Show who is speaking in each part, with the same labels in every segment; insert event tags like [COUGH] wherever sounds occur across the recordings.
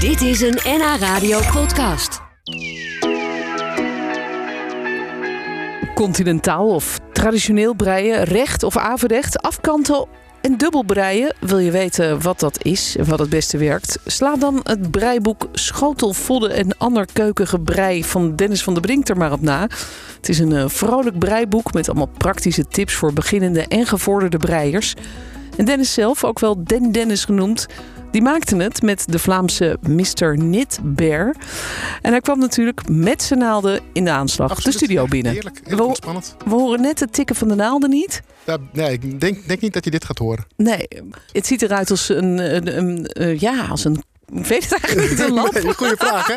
Speaker 1: Dit is een NH Radio podcast.
Speaker 2: Continentaal of traditioneel breien, recht of averecht, afkanten en dubbel breien. Wil je weten wat dat is en wat het beste werkt? Sla dan het breiboek Schotelvodden en ander keukengebrei van Dennis van der Brink er maar op na. Het is een eh, vrolijk breiboek met allemaal praktische tips voor beginnende en gevorderde breiers. En Dennis zelf, ook wel Den Dennis genoemd, die maakte het met de Vlaamse Mr. Knit Bear. En hij kwam natuurlijk met zijn naalden in de aanslag
Speaker 3: Absoluut.
Speaker 2: de studio binnen.
Speaker 3: Heerlijk, heel
Speaker 2: Wel-
Speaker 3: ontspannend.
Speaker 2: We horen net het tikken van de naalden niet.
Speaker 3: Ja, nee, ik denk, denk niet dat je dit gaat
Speaker 2: [LAUGHS]
Speaker 3: horen.
Speaker 2: Nee, het ziet eruit als een, een, een, eh, ja, als een, ik weet het eigenlijk niet, een lamp.
Speaker 3: Nee, goeie vraag, hè?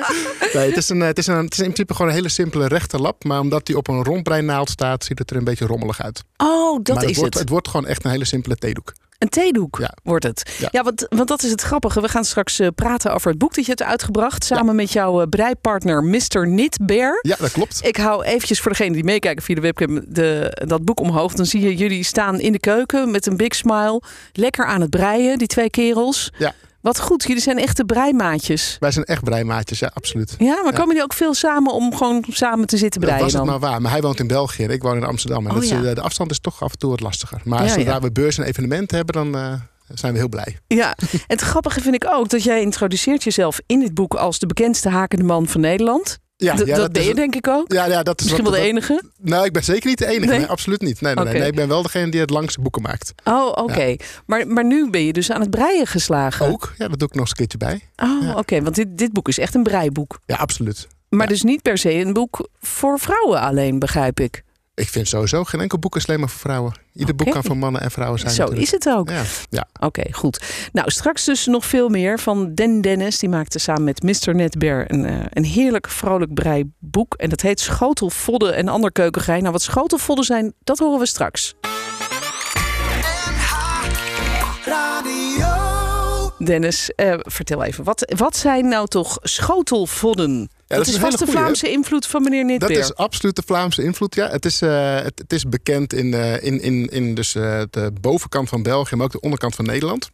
Speaker 3: Nee, het, is een, eh, het, is een, het is in principe gewoon een hele simpele rechte lap. Maar omdat die op een rondbreinaald staat, ziet het er een beetje rommelig uit.
Speaker 2: Oh, dat
Speaker 3: maar
Speaker 2: is
Speaker 3: het, wordt,
Speaker 2: het.
Speaker 3: het wordt gewoon echt een hele simpele theedoek.
Speaker 2: Een theedoek
Speaker 3: Ja.
Speaker 2: wordt het. Ja,
Speaker 3: Ja.
Speaker 2: want, want dat is het grappige. We gaan straks eh, praten over het boek dat je hebt uitgebracht. Samen met jouw eh, breipartner Mr. Nitbear.
Speaker 3: Ja, dat klopt.
Speaker 2: Ik hou eventjes voor degene die meekijken via de webcam de, dat boek omhoog. Dan zie je jullie staan in de keuken met een big smile. Lekker aan het breien, die twee kerels.
Speaker 3: Ja.
Speaker 2: Wat goed, jullie zijn echte breimaatjes.
Speaker 3: Wij zijn echt breimaatjes, ja, absoluut.
Speaker 2: Ja, maar komen jullie ook veel samen om gewoon samen te zitten breien
Speaker 3: dat was het
Speaker 2: dan?
Speaker 3: maar waar. Maar hij woont in België en ik woon in Amsterdam. En
Speaker 2: Oh,
Speaker 3: dat is,
Speaker 2: ja.
Speaker 3: eh, de afstand is toch af en toe wat lastiger. Maar
Speaker 2: Ja,
Speaker 3: zodra
Speaker 2: ja.
Speaker 3: we beurs en evenementen hebben, dan eh, zijn we heel blij.
Speaker 2: Ja, [LAUGHS] en het grappige vind ik ook dat jij introduceert jezelf in dit boek als de bekendste hakende man van Nederland.
Speaker 3: Ja,
Speaker 2: D-
Speaker 3: ja,
Speaker 2: dat ben
Speaker 3: is-
Speaker 2: je denk ik ook.
Speaker 3: Ja, ja, dat is
Speaker 2: Misschien wel
Speaker 3: wat,
Speaker 2: de
Speaker 3: dat-
Speaker 2: enige.
Speaker 3: Nou, ik ben zeker niet de enige.
Speaker 2: Nee?
Speaker 3: Nee, absoluut niet. Nee, nee, nee,
Speaker 2: Oké.
Speaker 3: nee. Ik ben wel degene die het langste boeken maakt.
Speaker 2: Oh, oké. Maar, maar nu ben je dus aan het breien geslagen.
Speaker 3: Ook, ja, dat doe ik nog eens een keertje bij.
Speaker 2: Oh,
Speaker 3: ja.
Speaker 2: oké. Want dit, dit boek is echt een breiboek.
Speaker 3: Ja, absoluut.
Speaker 2: Maar
Speaker 3: Ja.
Speaker 2: dus niet per se een boek voor vrouwen alleen, begrijp ik.
Speaker 3: Ik vind sowieso geen enkel boek is alleen maar voor vrouwen. Ieder boek
Speaker 2: Oké.
Speaker 3: kan voor mannen en vrouwen zijn.
Speaker 2: Zo
Speaker 3: natuurlijk.
Speaker 2: is het ook.
Speaker 3: Ja, ja.
Speaker 2: Oké, goed. Nou, straks dus nog veel meer van Den Dennis. Die maakte samen met Mr. Netbear een, eh, een heerlijk vrolijk breiboek. En dat heet Schotelvodden en ander keukengein. Nou, wat schotelvodden zijn, dat horen we straks. Dennis, eh, vertel even. Wat, wat zijn nou toch schotelvodden? dat,
Speaker 3: dat is
Speaker 2: is
Speaker 3: een
Speaker 2: vast de
Speaker 3: hele goeie, hè?
Speaker 2: Vlaamse invloed van meneer
Speaker 3: Dat
Speaker 2: Netbeer.
Speaker 3: is absoluut de Vlaamse invloed. Ja, het is, eh, het, het is bekend in, eh, in, in, in dus, eh, de bovenkant van België, maar ook de onderkant van Nederland.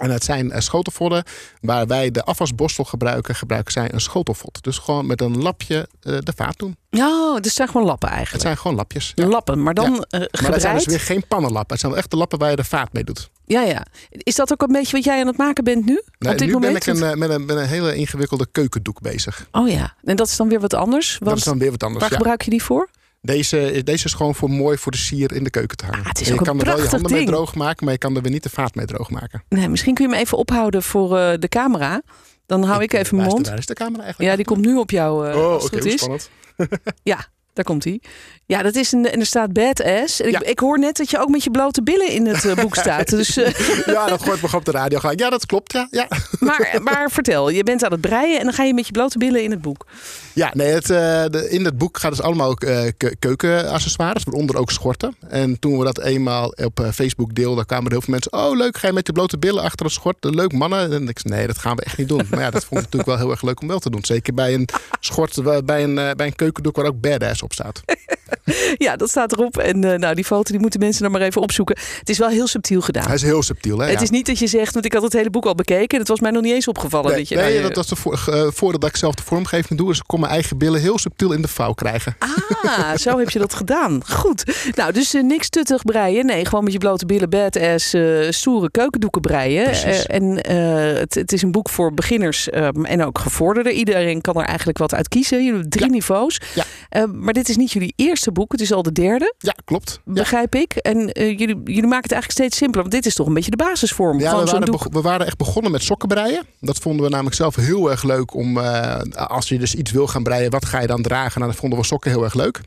Speaker 3: En het zijn eh, schotelvodden. Waar wij de afwasborstel gebruiken, gebruiken zij een schotelvod. Dus gewoon met een lapje eh, de vaat doen.
Speaker 2: Oh, het zijn gewoon lappen
Speaker 3: Het
Speaker 2: eigenlijk.
Speaker 3: zijn gewoon lapjes. Ja.
Speaker 2: Lappen, maar dan eh
Speaker 3: Maar dat zijn dus
Speaker 2: gebreid.
Speaker 3: weer geen pannenlappen. Het zijn wel echt de lappen waar je de vaat mee doet.
Speaker 2: Ja, ja. Is dat ook een beetje wat jij aan het maken bent nu?
Speaker 3: Nee,
Speaker 2: Op dit
Speaker 3: nu
Speaker 2: moment?
Speaker 3: ben ik een, eh, met, een, met een hele ingewikkelde keukendoek bezig.
Speaker 2: Oh ja, en dat is dan weer wat anders. Want
Speaker 3: dat is dan weer wat anders.
Speaker 2: waar
Speaker 3: ja.
Speaker 2: gebruik je die voor?
Speaker 3: Deze, is- deze is gewoon voor mooi voor de sier in de keuken te hangen.
Speaker 2: Ah, het is
Speaker 3: En je
Speaker 2: ook een
Speaker 3: kan er wel je
Speaker 2: prachtig
Speaker 3: handen
Speaker 2: ding.
Speaker 3: mee droog maken, maar je kan er weer niet de vaat mee droog maken.
Speaker 2: Nee, misschien kun je hem even ophouden voor eh, de camera. Dan hou ik, even mijn
Speaker 3: waar is de-
Speaker 2: mond.
Speaker 3: Waar is de camera eigenlijk?
Speaker 2: Ja, die komt nu op jou, eh,
Speaker 3: oh,
Speaker 2: als
Speaker 3: oké,
Speaker 2: het
Speaker 3: hoe
Speaker 2: goed is.
Speaker 3: spannend. [LAUGHS]
Speaker 2: Daar komt hij. Ja, dat is een, en er staat badass. En
Speaker 3: Ja.
Speaker 2: ik, ik hoor net dat je ook met je blote billen in het eh,
Speaker 3: [LAUGHS]
Speaker 2: boek staat. Dus, eh,
Speaker 3: ja, dat gooit me gewoon op de radio gelijk. Ja, dat klopt, ja. Ja,
Speaker 2: maar, maar vertel, je bent aan het breien en dan ga je met je blote billen in het boek.
Speaker 3: ja nee, het, eh, de- in dat boek gaat dus allemaal ook eh, ke- keukenaccessoires, waaronder ook schorten. En toen we dat eenmaal op eh, Facebook deelden, kwamen er heel veel mensen. Oh, leuk, ga je met je blote billen achter een schort? Leuk, mannen. En ik zei, nee, dat gaan we echt niet doen. Maar ja, dat vond ik natuurlijk wel heel erg leuk om wel te doen. Zeker bij een schort, waar- bij een, eh, bij een keukendoek waar ook badass op staat.
Speaker 2: Ja, dat staat erop. En eh, nou, die foto die moeten mensen dan maar even opzoeken. Het is wel heel subtiel gedaan.
Speaker 3: Hij is heel subtiel, hè?
Speaker 2: Het
Speaker 3: ja.
Speaker 2: is niet dat je zegt, want ik had het hele boek al bekeken en het was mij nog niet eens opgevallen.
Speaker 3: Nee,
Speaker 2: dat je,
Speaker 3: nee,
Speaker 2: nou, je-
Speaker 3: dat was de voor, eh, voordeel dat ik zelf de vormgeving doe. Dus ik kon mijn eigen billen heel subtiel in de vouw
Speaker 2: [LAUGHS]
Speaker 3: krijgen.
Speaker 2: Ah, zo heb je dat gedaan. Goed. Nou, dus eh, niks tuttig breien. Nee, gewoon met je blote billen, badass, eh stoere keukendoeken breien.
Speaker 3: Precies.
Speaker 2: Eh, en eh, het, het is een boek voor beginners ehm, en ook gevorderden. Iedereen kan er eigenlijk wat uit kiezen. Jullie hebben drie
Speaker 3: Ja.
Speaker 2: niveaus.
Speaker 3: Ja.
Speaker 2: Eh, maar dit is niet jullie eerste boek. Het is al de derde,
Speaker 3: Ja, klopt. Ja.
Speaker 2: begrijp ik. En eh, jullie, jullie maken het eigenlijk steeds simpeler. Want dit is toch een beetje de basisvorm.
Speaker 3: Ja,
Speaker 2: gewoon
Speaker 3: we
Speaker 2: zo'n
Speaker 3: waren,
Speaker 2: doek.
Speaker 3: beg- we waren echt begonnen met sokken breien. Dat vonden we namelijk zelf heel erg leuk om, eh, als je dus iets wil gaan breien, wat ga je dan dragen? Nou, dat vonden we sokken heel erg leuk.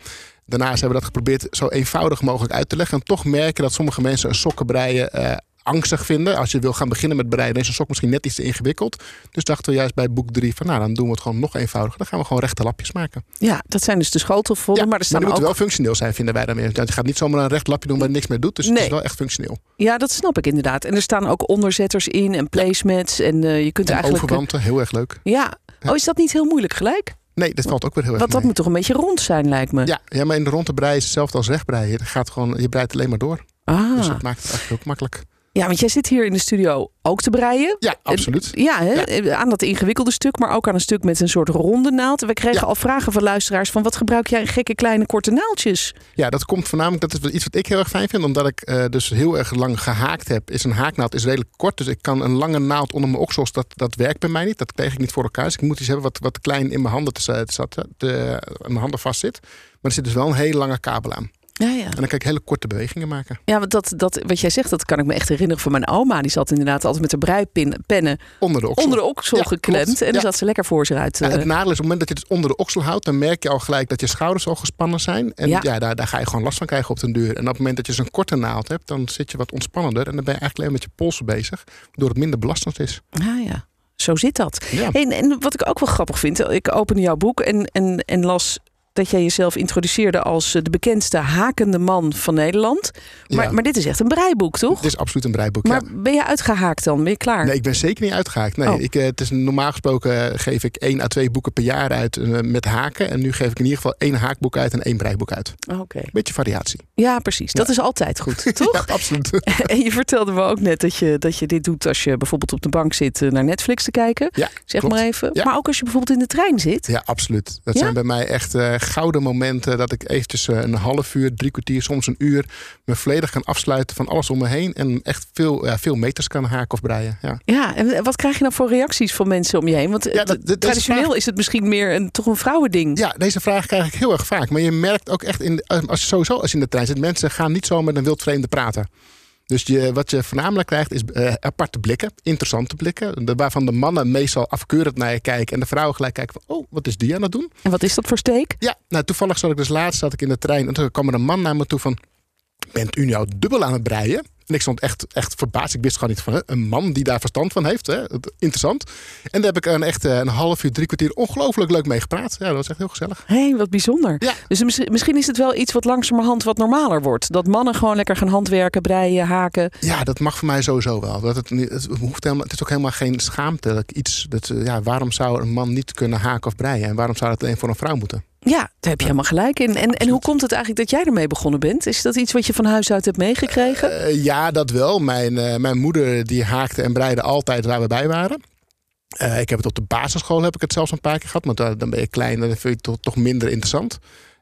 Speaker 3: Daarnaast hebben we dat geprobeerd zo eenvoudig mogelijk uit te leggen. En toch merken dat sommige mensen een sokken breien eh, angstig vinden. Als je wil gaan beginnen met breien, dan is een sok misschien net iets te ingewikkeld. Dus dachten we juist bij boek 3 van, nou, dan doen we het gewoon nog eenvoudiger. Dan gaan we gewoon rechte lapjes maken.
Speaker 2: Ja, dat zijn dus de schotelvollen. maar er staan
Speaker 3: die
Speaker 2: ook
Speaker 3: moeten wel functioneel zijn, vinden wij dan weer. Je gaat niet zomaar een recht lapje doen waar niks mee doet. Dus
Speaker 2: Nee.
Speaker 3: het is wel echt functioneel.
Speaker 2: Ja, dat snap ik inderdaad. En er staan ook onderzetters in en placemats. En eh, je kunt
Speaker 3: En
Speaker 2: eigenlijk.
Speaker 3: overwanten, heel erg leuk.
Speaker 2: Ja. Oh, is dat niet heel moeilijk gelijk?
Speaker 3: Nee, dat valt ook weer heel erg
Speaker 2: Want dat
Speaker 3: mee.
Speaker 2: moet toch een beetje rond zijn, lijkt me.
Speaker 3: ja, ja, maar in de ronde breien is hetzelfde als rechtbreien. Je, gaat gewoon, je breidt alleen maar door. Dus
Speaker 2: Ah.
Speaker 3: dat maakt het eigenlijk ook makkelijk.
Speaker 2: Ja, want jij zit hier in de studio ook te breien.
Speaker 3: Ja, absoluut.
Speaker 2: Ja, hè? Eh, aan dat ingewikkelde stuk, maar ook aan een stuk met een soort ronde naald. We kregen
Speaker 3: Ja.
Speaker 2: al vragen van luisteraars van wat gebruik jij gekke kleine korte naaldjes?
Speaker 3: Ja, dat komt voornamelijk, dat is iets wat ik heel erg fijn vind, omdat ik eh, dus heel erg lang gehaakt heb. Is een haaknaald is redelijk kort, dus ik kan een lange naald onder mijn oksels, dat, dat werkt bij mij niet. Dat kreeg ik niet voor elkaar. Dus ik moet iets hebben wat, wat klein in mijn handen, te, te, te, in mijn handen vast zit. Maar er zit dus wel een hele lange kabel aan.
Speaker 2: Ja, ja.
Speaker 3: En dan kan ik hele korte bewegingen maken.
Speaker 2: Ja, want dat, dat, wat jij zegt, dat kan ik me echt herinneren van mijn oma. Die zat inderdaad altijd met de breipennen
Speaker 3: Onder de oksel.
Speaker 2: onder de oksel
Speaker 3: Ja,
Speaker 2: geklemd.
Speaker 3: klopt.
Speaker 2: En dan
Speaker 3: Ja.
Speaker 2: zat ze lekker voor zich uit.
Speaker 3: Ja,
Speaker 2: eh,
Speaker 3: het nadeel is, op het moment dat je het onder de oksel houdt, dan merk je al gelijk dat je schouders al gespannen zijn. En
Speaker 2: Ja.
Speaker 3: ja, daar, daar ga je gewoon last van krijgen op den duur. En op het moment dat je zo'n korte naald hebt, dan zit je wat ontspannender. En dan ben je eigenlijk alleen met je polsen bezig, waardoor het minder belastend is.
Speaker 2: ah, ja. Zo zit dat.
Speaker 3: Ja.
Speaker 2: Hey, En, en wat ik ook wel grappig vind, eh, ik opende jouw boek en, en, en las dat jij jezelf introduceerde als eh, de bekendste hakende man van Nederland. Maar,
Speaker 3: Ja.
Speaker 2: maar dit is echt een breiboek, toch?
Speaker 3: Het is absoluut een breiboek. ja.
Speaker 2: Maar ben je uitgehaakt dan? Ben je klaar?
Speaker 3: Nee, ik ben zeker niet uitgehaakt. Nee,
Speaker 2: Oh.
Speaker 3: ik, eh, het is normaal gesproken eh, geef ik één à twee boeken per jaar uit eh, met haken. En nu geef ik in ieder geval één haakboek uit en één breiboek uit.
Speaker 2: Oh, Oké.
Speaker 3: Beetje variatie.
Speaker 2: Ja, precies. Dat is altijd
Speaker 3: [LAUGHS]
Speaker 2: goed, toch?
Speaker 3: Ja, absoluut.
Speaker 2: [LAUGHS] En je vertelde me ook net dat je, dat je dit doet als je bijvoorbeeld op de bank zit eh, naar Netflix te kijken.
Speaker 3: Ja,
Speaker 2: Zeg
Speaker 3: klopt.
Speaker 2: maar even.
Speaker 3: Ja.
Speaker 2: Maar ook als je bijvoorbeeld in de trein zit.
Speaker 3: Ja, absoluut. Dat
Speaker 2: Ja?
Speaker 3: zijn bij mij echt eh, gouden momenten dat ik eventjes eh, een half uur, drie kwartier, soms een uur me volledig kan afsluiten van alles om me heen en echt veel, ja, veel meters kan haken of breien. Ja.
Speaker 2: Ja, en wat krijg je nou voor reacties van mensen om je heen? Want eh,
Speaker 3: Ja, dat- dat- dat is
Speaker 2: traditioneel is, het misschien meer een, toch een vrouwending.
Speaker 3: ja, deze vraag krijg ik heel erg vaak. Maar je merkt ook echt, in, de- eh, als, sowieso als je in de trein zit, mensen gaan niet zo met een wildvreemde praten. Dus je, wat je voornamelijk krijgt is eh, aparte blikken, interessante blikken. de- waarvan de mannen meestal afkeurend naar je kijken. En de vrouwen gelijk kijken van, oh, wat is die aan het doen?
Speaker 2: En wat is dat voor steek?
Speaker 3: Ja, nou toevallig zat ik dus laatst zat ik in de trein en toen kwam er een man naar me toe van, bent u nou dubbel aan het breien? En ik stond echt, echt verbaasd. Ik wist gewoon niet van hè, een man die daar verstand van heeft. Hè? Het- Interessant. En daar heb ik een, echt eh, een half uur, drie kwartier ongelooflijk leuk mee gepraat. Ja, dat was echt heel gezellig.
Speaker 2: Hé, wat bijzonder.
Speaker 3: Ja.
Speaker 2: Dus misschien, misschien is het wel iets wat langzamerhand wat normaler wordt. Dat mannen gewoon lekker gaan handwerken, breien, haken.
Speaker 3: Ja, dat mag voor mij sowieso wel. Dat het, niet- het, hoeft helemaal, het is ook helemaal geen schaamtelijk iets. Dat, eh, ja, waarom zou een man niet kunnen haken of breien? En waarom zou dat alleen voor een vrouw moeten?
Speaker 2: Ja, daar heb je helemaal gelijk in. En, en hoe komt het eigenlijk dat jij ermee begonnen bent? Is dat iets wat je van huis uit hebt meegekregen?
Speaker 3: Eh, ja, dat wel. Mijn, eh, mijn moeder die haakte en breide altijd waar we bij waren. Eh, ik heb het op de basisschool heb ik het zelfs een paar keer gehad. Maar daar- dan ben je klein en dan vind je het toch, toch minder interessant.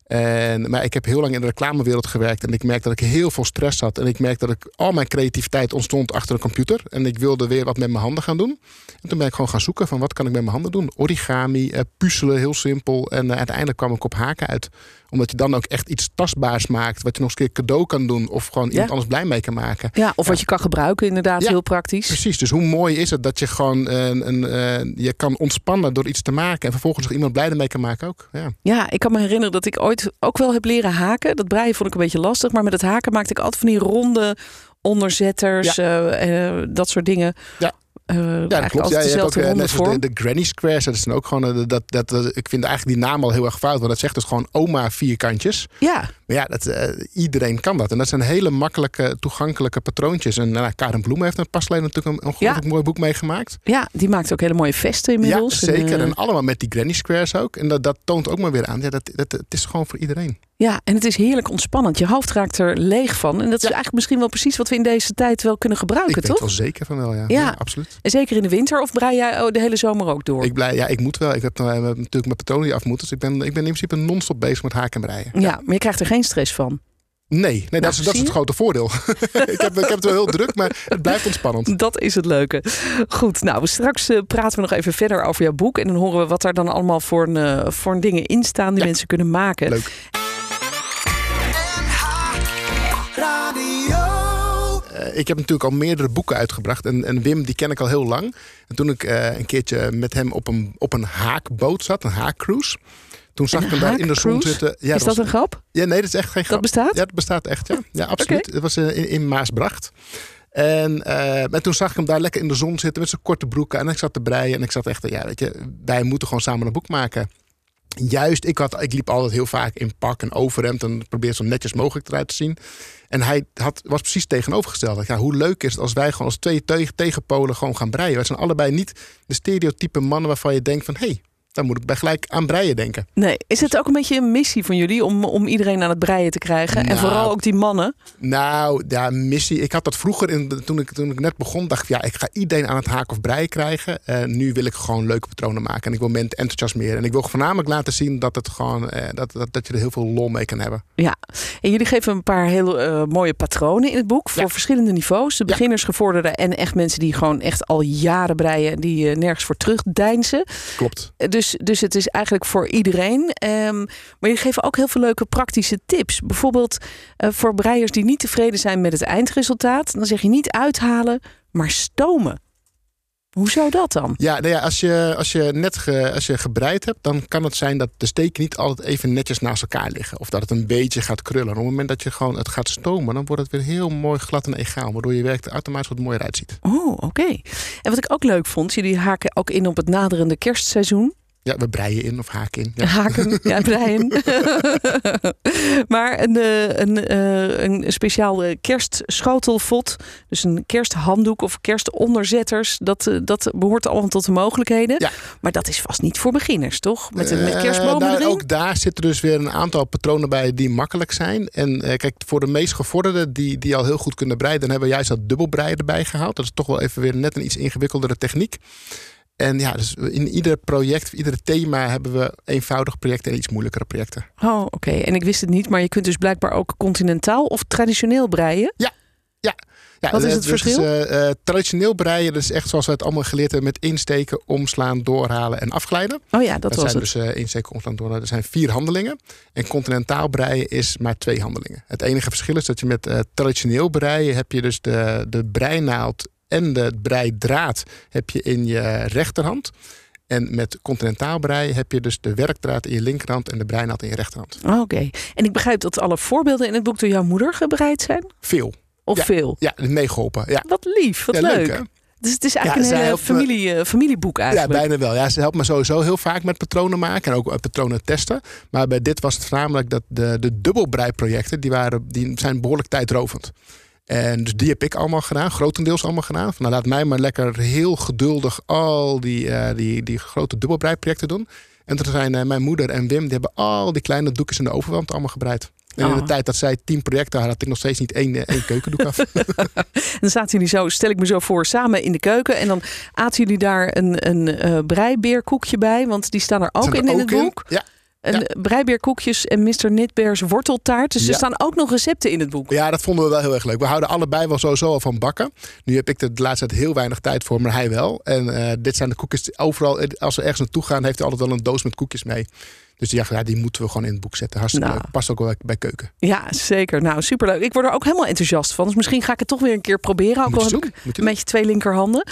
Speaker 3: En, maar ik heb heel lang in de reclamewereld gewerkt. En ik merkte dat ik heel veel stress had. En ik merkte dat ik, al mijn creativiteit ontstond achter een computer. En ik wilde weer wat met mijn handen gaan doen. En toen ben ik gewoon gaan zoeken van wat kan ik met mijn handen doen. Origami, eh, puzzelen, heel simpel. En eh, uiteindelijk kwam ik op haken uit. Omdat je dan ook echt iets tastbaars maakt. Wat je nog eens een keer cadeau kan doen. Of gewoon iemand
Speaker 2: Ja.
Speaker 3: anders blij mee kan maken.
Speaker 2: Ja, of wat je kan gebruiken, inderdaad,
Speaker 3: Ja,
Speaker 2: heel praktisch.
Speaker 3: Precies, dus hoe mooi is het dat je gewoon een, een, eh, je kan ontspannen door iets te maken. En vervolgens nog iemand blij mee kan maken ook. Ja.
Speaker 2: Ja, ik kan me herinneren dat ik ooit ook wel heb leren haken. Dat breien vond ik een beetje lastig, maar met het haken maakte ik altijd van die ronde onderzetters, eh, eh, dat soort dingen.
Speaker 3: Ja.
Speaker 2: Eh,
Speaker 3: Ja, dat
Speaker 2: eigenlijk
Speaker 3: klopt.
Speaker 2: altijd
Speaker 3: Jij hebt ook
Speaker 2: dezelfde
Speaker 3: eh,
Speaker 2: ronde
Speaker 3: net zoals
Speaker 2: vorm.
Speaker 3: de, de granny squares. Dat is dan ook gewoon, eh, dat, dat, dat- ik vind eigenlijk die naam al heel erg fout. Want dat zegt dus gewoon oma vierkantjes.
Speaker 2: Ja,
Speaker 3: Maar ja, dat, eh, iedereen kan dat. En dat zijn hele makkelijke, toegankelijke patroontjes. En nou, Karen Bloem heeft een paslijn natuurlijk een ongelooflijk mooi boek meegemaakt.
Speaker 2: ja, die maakt ook hele mooie vesten
Speaker 3: Ja,
Speaker 2: inmiddels. En,
Speaker 3: zeker. En,
Speaker 2: eh,
Speaker 3: allemaal met die granny squares ook. En dat, dat toont ook maar weer aan. Ja, dat, dat, het is gewoon voor iedereen.
Speaker 2: ja, en het is heerlijk ontspannend. Je hoofd raakt er leeg van. En dat is
Speaker 3: Ja.
Speaker 2: eigenlijk misschien wel precies wat we in deze tijd wel kunnen
Speaker 3: Ik
Speaker 2: gebruiken,
Speaker 3: weet
Speaker 2: toch?
Speaker 3: wel zeker van wel, ja.
Speaker 2: Ja.
Speaker 3: ja absoluut.
Speaker 2: En zeker in de winter, of brei jij oh, de hele zomer ook door?
Speaker 3: Ik, blij, ja, ik moet wel. Ik heb eh, natuurlijk mijn patronie af moeten. Dus ik ben, ik ben in principe non-stop bezig met haken en breien.
Speaker 2: ja. maar je krijgt er geen stress van.
Speaker 3: Nee, nee dat,
Speaker 2: Nou,
Speaker 3: is,
Speaker 2: zie
Speaker 3: dat is
Speaker 2: je?
Speaker 3: het grote voordeel. [LAUGHS] ik, heb, ik heb het wel heel druk, maar het blijft ontspannend.
Speaker 2: Dat is het leuke. Goed, nou, straks eh, praten we nog even verder over jouw boek. En dan horen we wat daar dan allemaal voor, een, eh, voor een dingen in staan die
Speaker 3: Ja.
Speaker 2: mensen kunnen maken.
Speaker 3: Leuk. Eh, ik heb natuurlijk al meerdere boeken uitgebracht. En, en Wim, die ken ik al heel lang. En toen ik eh, een keertje met hem op een, op een haakboot zat, een haakcruise. Toen zag
Speaker 2: Een
Speaker 3: ik hem daar in de zon
Speaker 2: haakcruise?
Speaker 3: zitten. Ja,
Speaker 2: is dat
Speaker 3: was-
Speaker 2: een grap?
Speaker 3: ja, nee, dat is echt geen grap.
Speaker 2: Dat bestaat?
Speaker 3: Ja, het bestaat echt, ja. Ja, absoluut. Het was eh, in, in Maasbracht. En, eh, en toen zag ik hem daar lekker in de zon zitten met zijn korte broeken. En ik zat te breien en ik zat echt, ja, weet je, wij moeten gewoon samen een boek maken. Juist, ik, had, ik liep altijd heel vaak in pak en overhemd en probeer zo netjes mogelijk eruit te zien. En hij had, was precies tegenovergesteld. Ja, hoe leuk is het als wij gewoon als twee te- tegenpolen gewoon gaan breien. Wij zijn allebei niet de stereotype mannen waarvan je denkt van... hé, hey, dan moet ik bij gelijk aan breien denken.
Speaker 2: Nee. Is het ook een beetje een missie van jullie om, om iedereen aan het breien te krijgen? En
Speaker 3: Nou.
Speaker 2: vooral ook die mannen.
Speaker 3: Nou, ja, missie. Ik had dat vroeger, in, toen, ik, toen ik net begon, dacht ik... ja, ik ga iedereen aan het haak of breien krijgen. Eh, nu wil ik gewoon leuke patronen maken. En ik wil mensen enthousiasmeren. En ik wil voornamelijk laten zien dat, het gewoon, eh, dat, dat, dat je er heel veel lol mee kan hebben.
Speaker 2: Ja, en jullie geven een paar heel eh, mooie patronen in het boek voor
Speaker 3: Ja.
Speaker 2: verschillende niveaus. De
Speaker 3: Ja.
Speaker 2: beginners, gevorderden en echt mensen die gewoon echt al jaren breien, en die eh, nergens voor terugdeinzen.
Speaker 3: Klopt.
Speaker 2: Eh, Dus, dus het is eigenlijk voor iedereen. Ehm, maar jullie geven ook heel veel leuke praktische tips. Bijvoorbeeld eh, voor breiers die niet tevreden zijn met het eindresultaat, dan zeg je niet uithalen, maar stomen. Hoezo dat dan?
Speaker 3: Ja, nou ja als, je, als je net ge, als je gebreid hebt, dan kan het zijn dat de steken niet altijd even netjes naast elkaar liggen. Of dat het een beetje gaat krullen. En op het moment dat je gewoon het gaat stomen, dan wordt het weer heel mooi glad en egaal. Waardoor je werk er automatisch wat mooier uitziet.
Speaker 2: Oh, oké. En wat ik ook leuk vond, jullie haken ook in op het naderende kerstseizoen.
Speaker 3: Ja, we breien in of haken in. Ja.
Speaker 2: Haken,
Speaker 3: [LAUGHS]
Speaker 2: ja, breien. [LAUGHS] maar een, eh, een, eh, een speciaal eh, kerstschotelvod, dus een kersthanddoek of kerstonderzetters, dat, eh, dat behoort allemaal tot de mogelijkheden.
Speaker 3: Ja.
Speaker 2: Maar dat is vast niet voor beginners, toch? Met, een- met
Speaker 3: Eh,
Speaker 2: kerstbomen
Speaker 3: daar-
Speaker 2: erin?
Speaker 3: Ook daar zitten dus weer een aantal patronen bij die makkelijk zijn. En eh, kijk, voor de meest gevorderden die, die al heel goed kunnen breiden... dan hebben we juist dat dubbelbreien erbij gehaald. Dat is toch wel even weer net een iets ingewikkeldere techniek. En ja, dus in ieder project, ieder thema hebben we eenvoudig projecten en iets moeilijkere projecten.
Speaker 2: Oh, oké. En ik wist het niet, maar je kunt dus blijkbaar ook continentaal of traditioneel breien.
Speaker 3: Ja,
Speaker 2: Wat is het
Speaker 3: dus,
Speaker 2: verschil?
Speaker 3: eh, eh, traditioneel breien, dat is echt zoals we het allemaal geleerd hebben... met insteken, omslaan, doorhalen en afglijden.
Speaker 2: Oh ja, dat,
Speaker 3: Dat,
Speaker 2: was het.
Speaker 3: zijn dus eh insteken, omslaan, doorhalen. Er zijn vier handelingen. En continentaal breien is maar twee handelingen. Het enige verschil is dat je met eh, traditioneel breien... heb je dus de, de breinaald en de breidraad heb je in je rechterhand. En met continentaal breien heb je dus de werkdraad in je linkerhand... en de breinaald in je rechterhand.
Speaker 2: Oh, Oké. En ik begrijp dat alle voorbeelden in het boek door jouw moeder gebreid zijn?
Speaker 3: Veel.
Speaker 2: Of veel?
Speaker 3: Ja, meegeholpen. Ja.
Speaker 2: Wat lief, wat
Speaker 3: Ja,
Speaker 2: leuk.
Speaker 3: hè?
Speaker 2: Dus het is
Speaker 3: Ja,
Speaker 2: eigenlijk
Speaker 3: zij
Speaker 2: een hele
Speaker 3: helpt me-
Speaker 2: familie, eh, familieboek
Speaker 3: Ja,
Speaker 2: eigenlijk.
Speaker 3: bijna wel. Ja, ze helpt me sowieso heel vaak met patronen maken en ook eh, patronen testen. Maar bij dit was het voornamelijk dat de, de dubbelbreiprojecten, die, waren, die zijn behoorlijk tijdrovend. En dus die heb ik allemaal gedaan, grotendeels allemaal gedaan. Van, nou, laat mij maar lekker heel geduldig al die, eh, die, die grote dubbelbreiprojecten doen. En toen zijn eh, mijn moeder en Wim, die hebben al die kleine doekjes in de overwand allemaal gebreid. En in
Speaker 2: Oh.
Speaker 3: de tijd dat zij tien projecten hadden, had ik nog steeds niet één, eh, één keukendoek
Speaker 2: [LAUGHS]
Speaker 3: af.
Speaker 2: En dan zaten jullie zo, stel ik me zo voor, samen in de keuken. En dan aten jullie daar een, een eh, breibeerkoekje bij. Want die staan er ook
Speaker 3: Zijn er
Speaker 2: in in het boek.
Speaker 3: Ja,
Speaker 2: Een breibeerkoekjes en Mr. Nitbears worteltaart. Dus er
Speaker 3: Ja.
Speaker 2: staan ook nog recepten in het boek.
Speaker 3: Ja, dat vonden we wel heel erg leuk. We houden allebei wel sowieso al van bakken. Nu heb ik er de laatste tijd heel weinig tijd voor, maar hij wel. En eh, dit zijn de koekjes. die Overal, eh, als we ergens naartoe gaan, heeft hij altijd wel een doos met koekjes mee. Dus die dacht, ja, die moeten we gewoon in het boek zetten. Hartstikke
Speaker 2: Nou.
Speaker 3: leuk. Past ook wel bij keuken.
Speaker 2: Ja, zeker. Nou, superleuk. Ik word er ook helemaal enthousiast van. Dus misschien ga ik het toch weer een keer proberen. Ook
Speaker 3: Moet
Speaker 2: al
Speaker 3: je
Speaker 2: heb
Speaker 3: doen.
Speaker 2: ik
Speaker 3: Moet je doen.
Speaker 2: met je twee
Speaker 3: [LAUGHS]
Speaker 2: linkerhanden.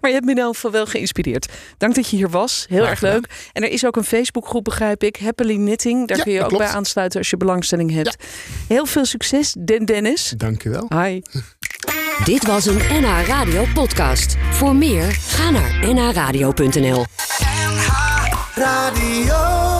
Speaker 2: maar je hebt me in elk geval wel geïnspireerd. Dank dat je hier was. Heel
Speaker 3: Graag
Speaker 2: erg leuk. En er is ook een Facebookgroep, begrijp ik. Happily Knitting. Daar
Speaker 3: Ja,
Speaker 2: kun je ook
Speaker 3: dat klopt.
Speaker 2: bij aansluiten als je belangstelling hebt. Heel veel succes, Den Dennis.
Speaker 3: Dankjewel.
Speaker 2: Hi.
Speaker 1: Dit was een NH Radio podcast. Voor meer, ga naar nhradio.nl.
Speaker 4: Radio.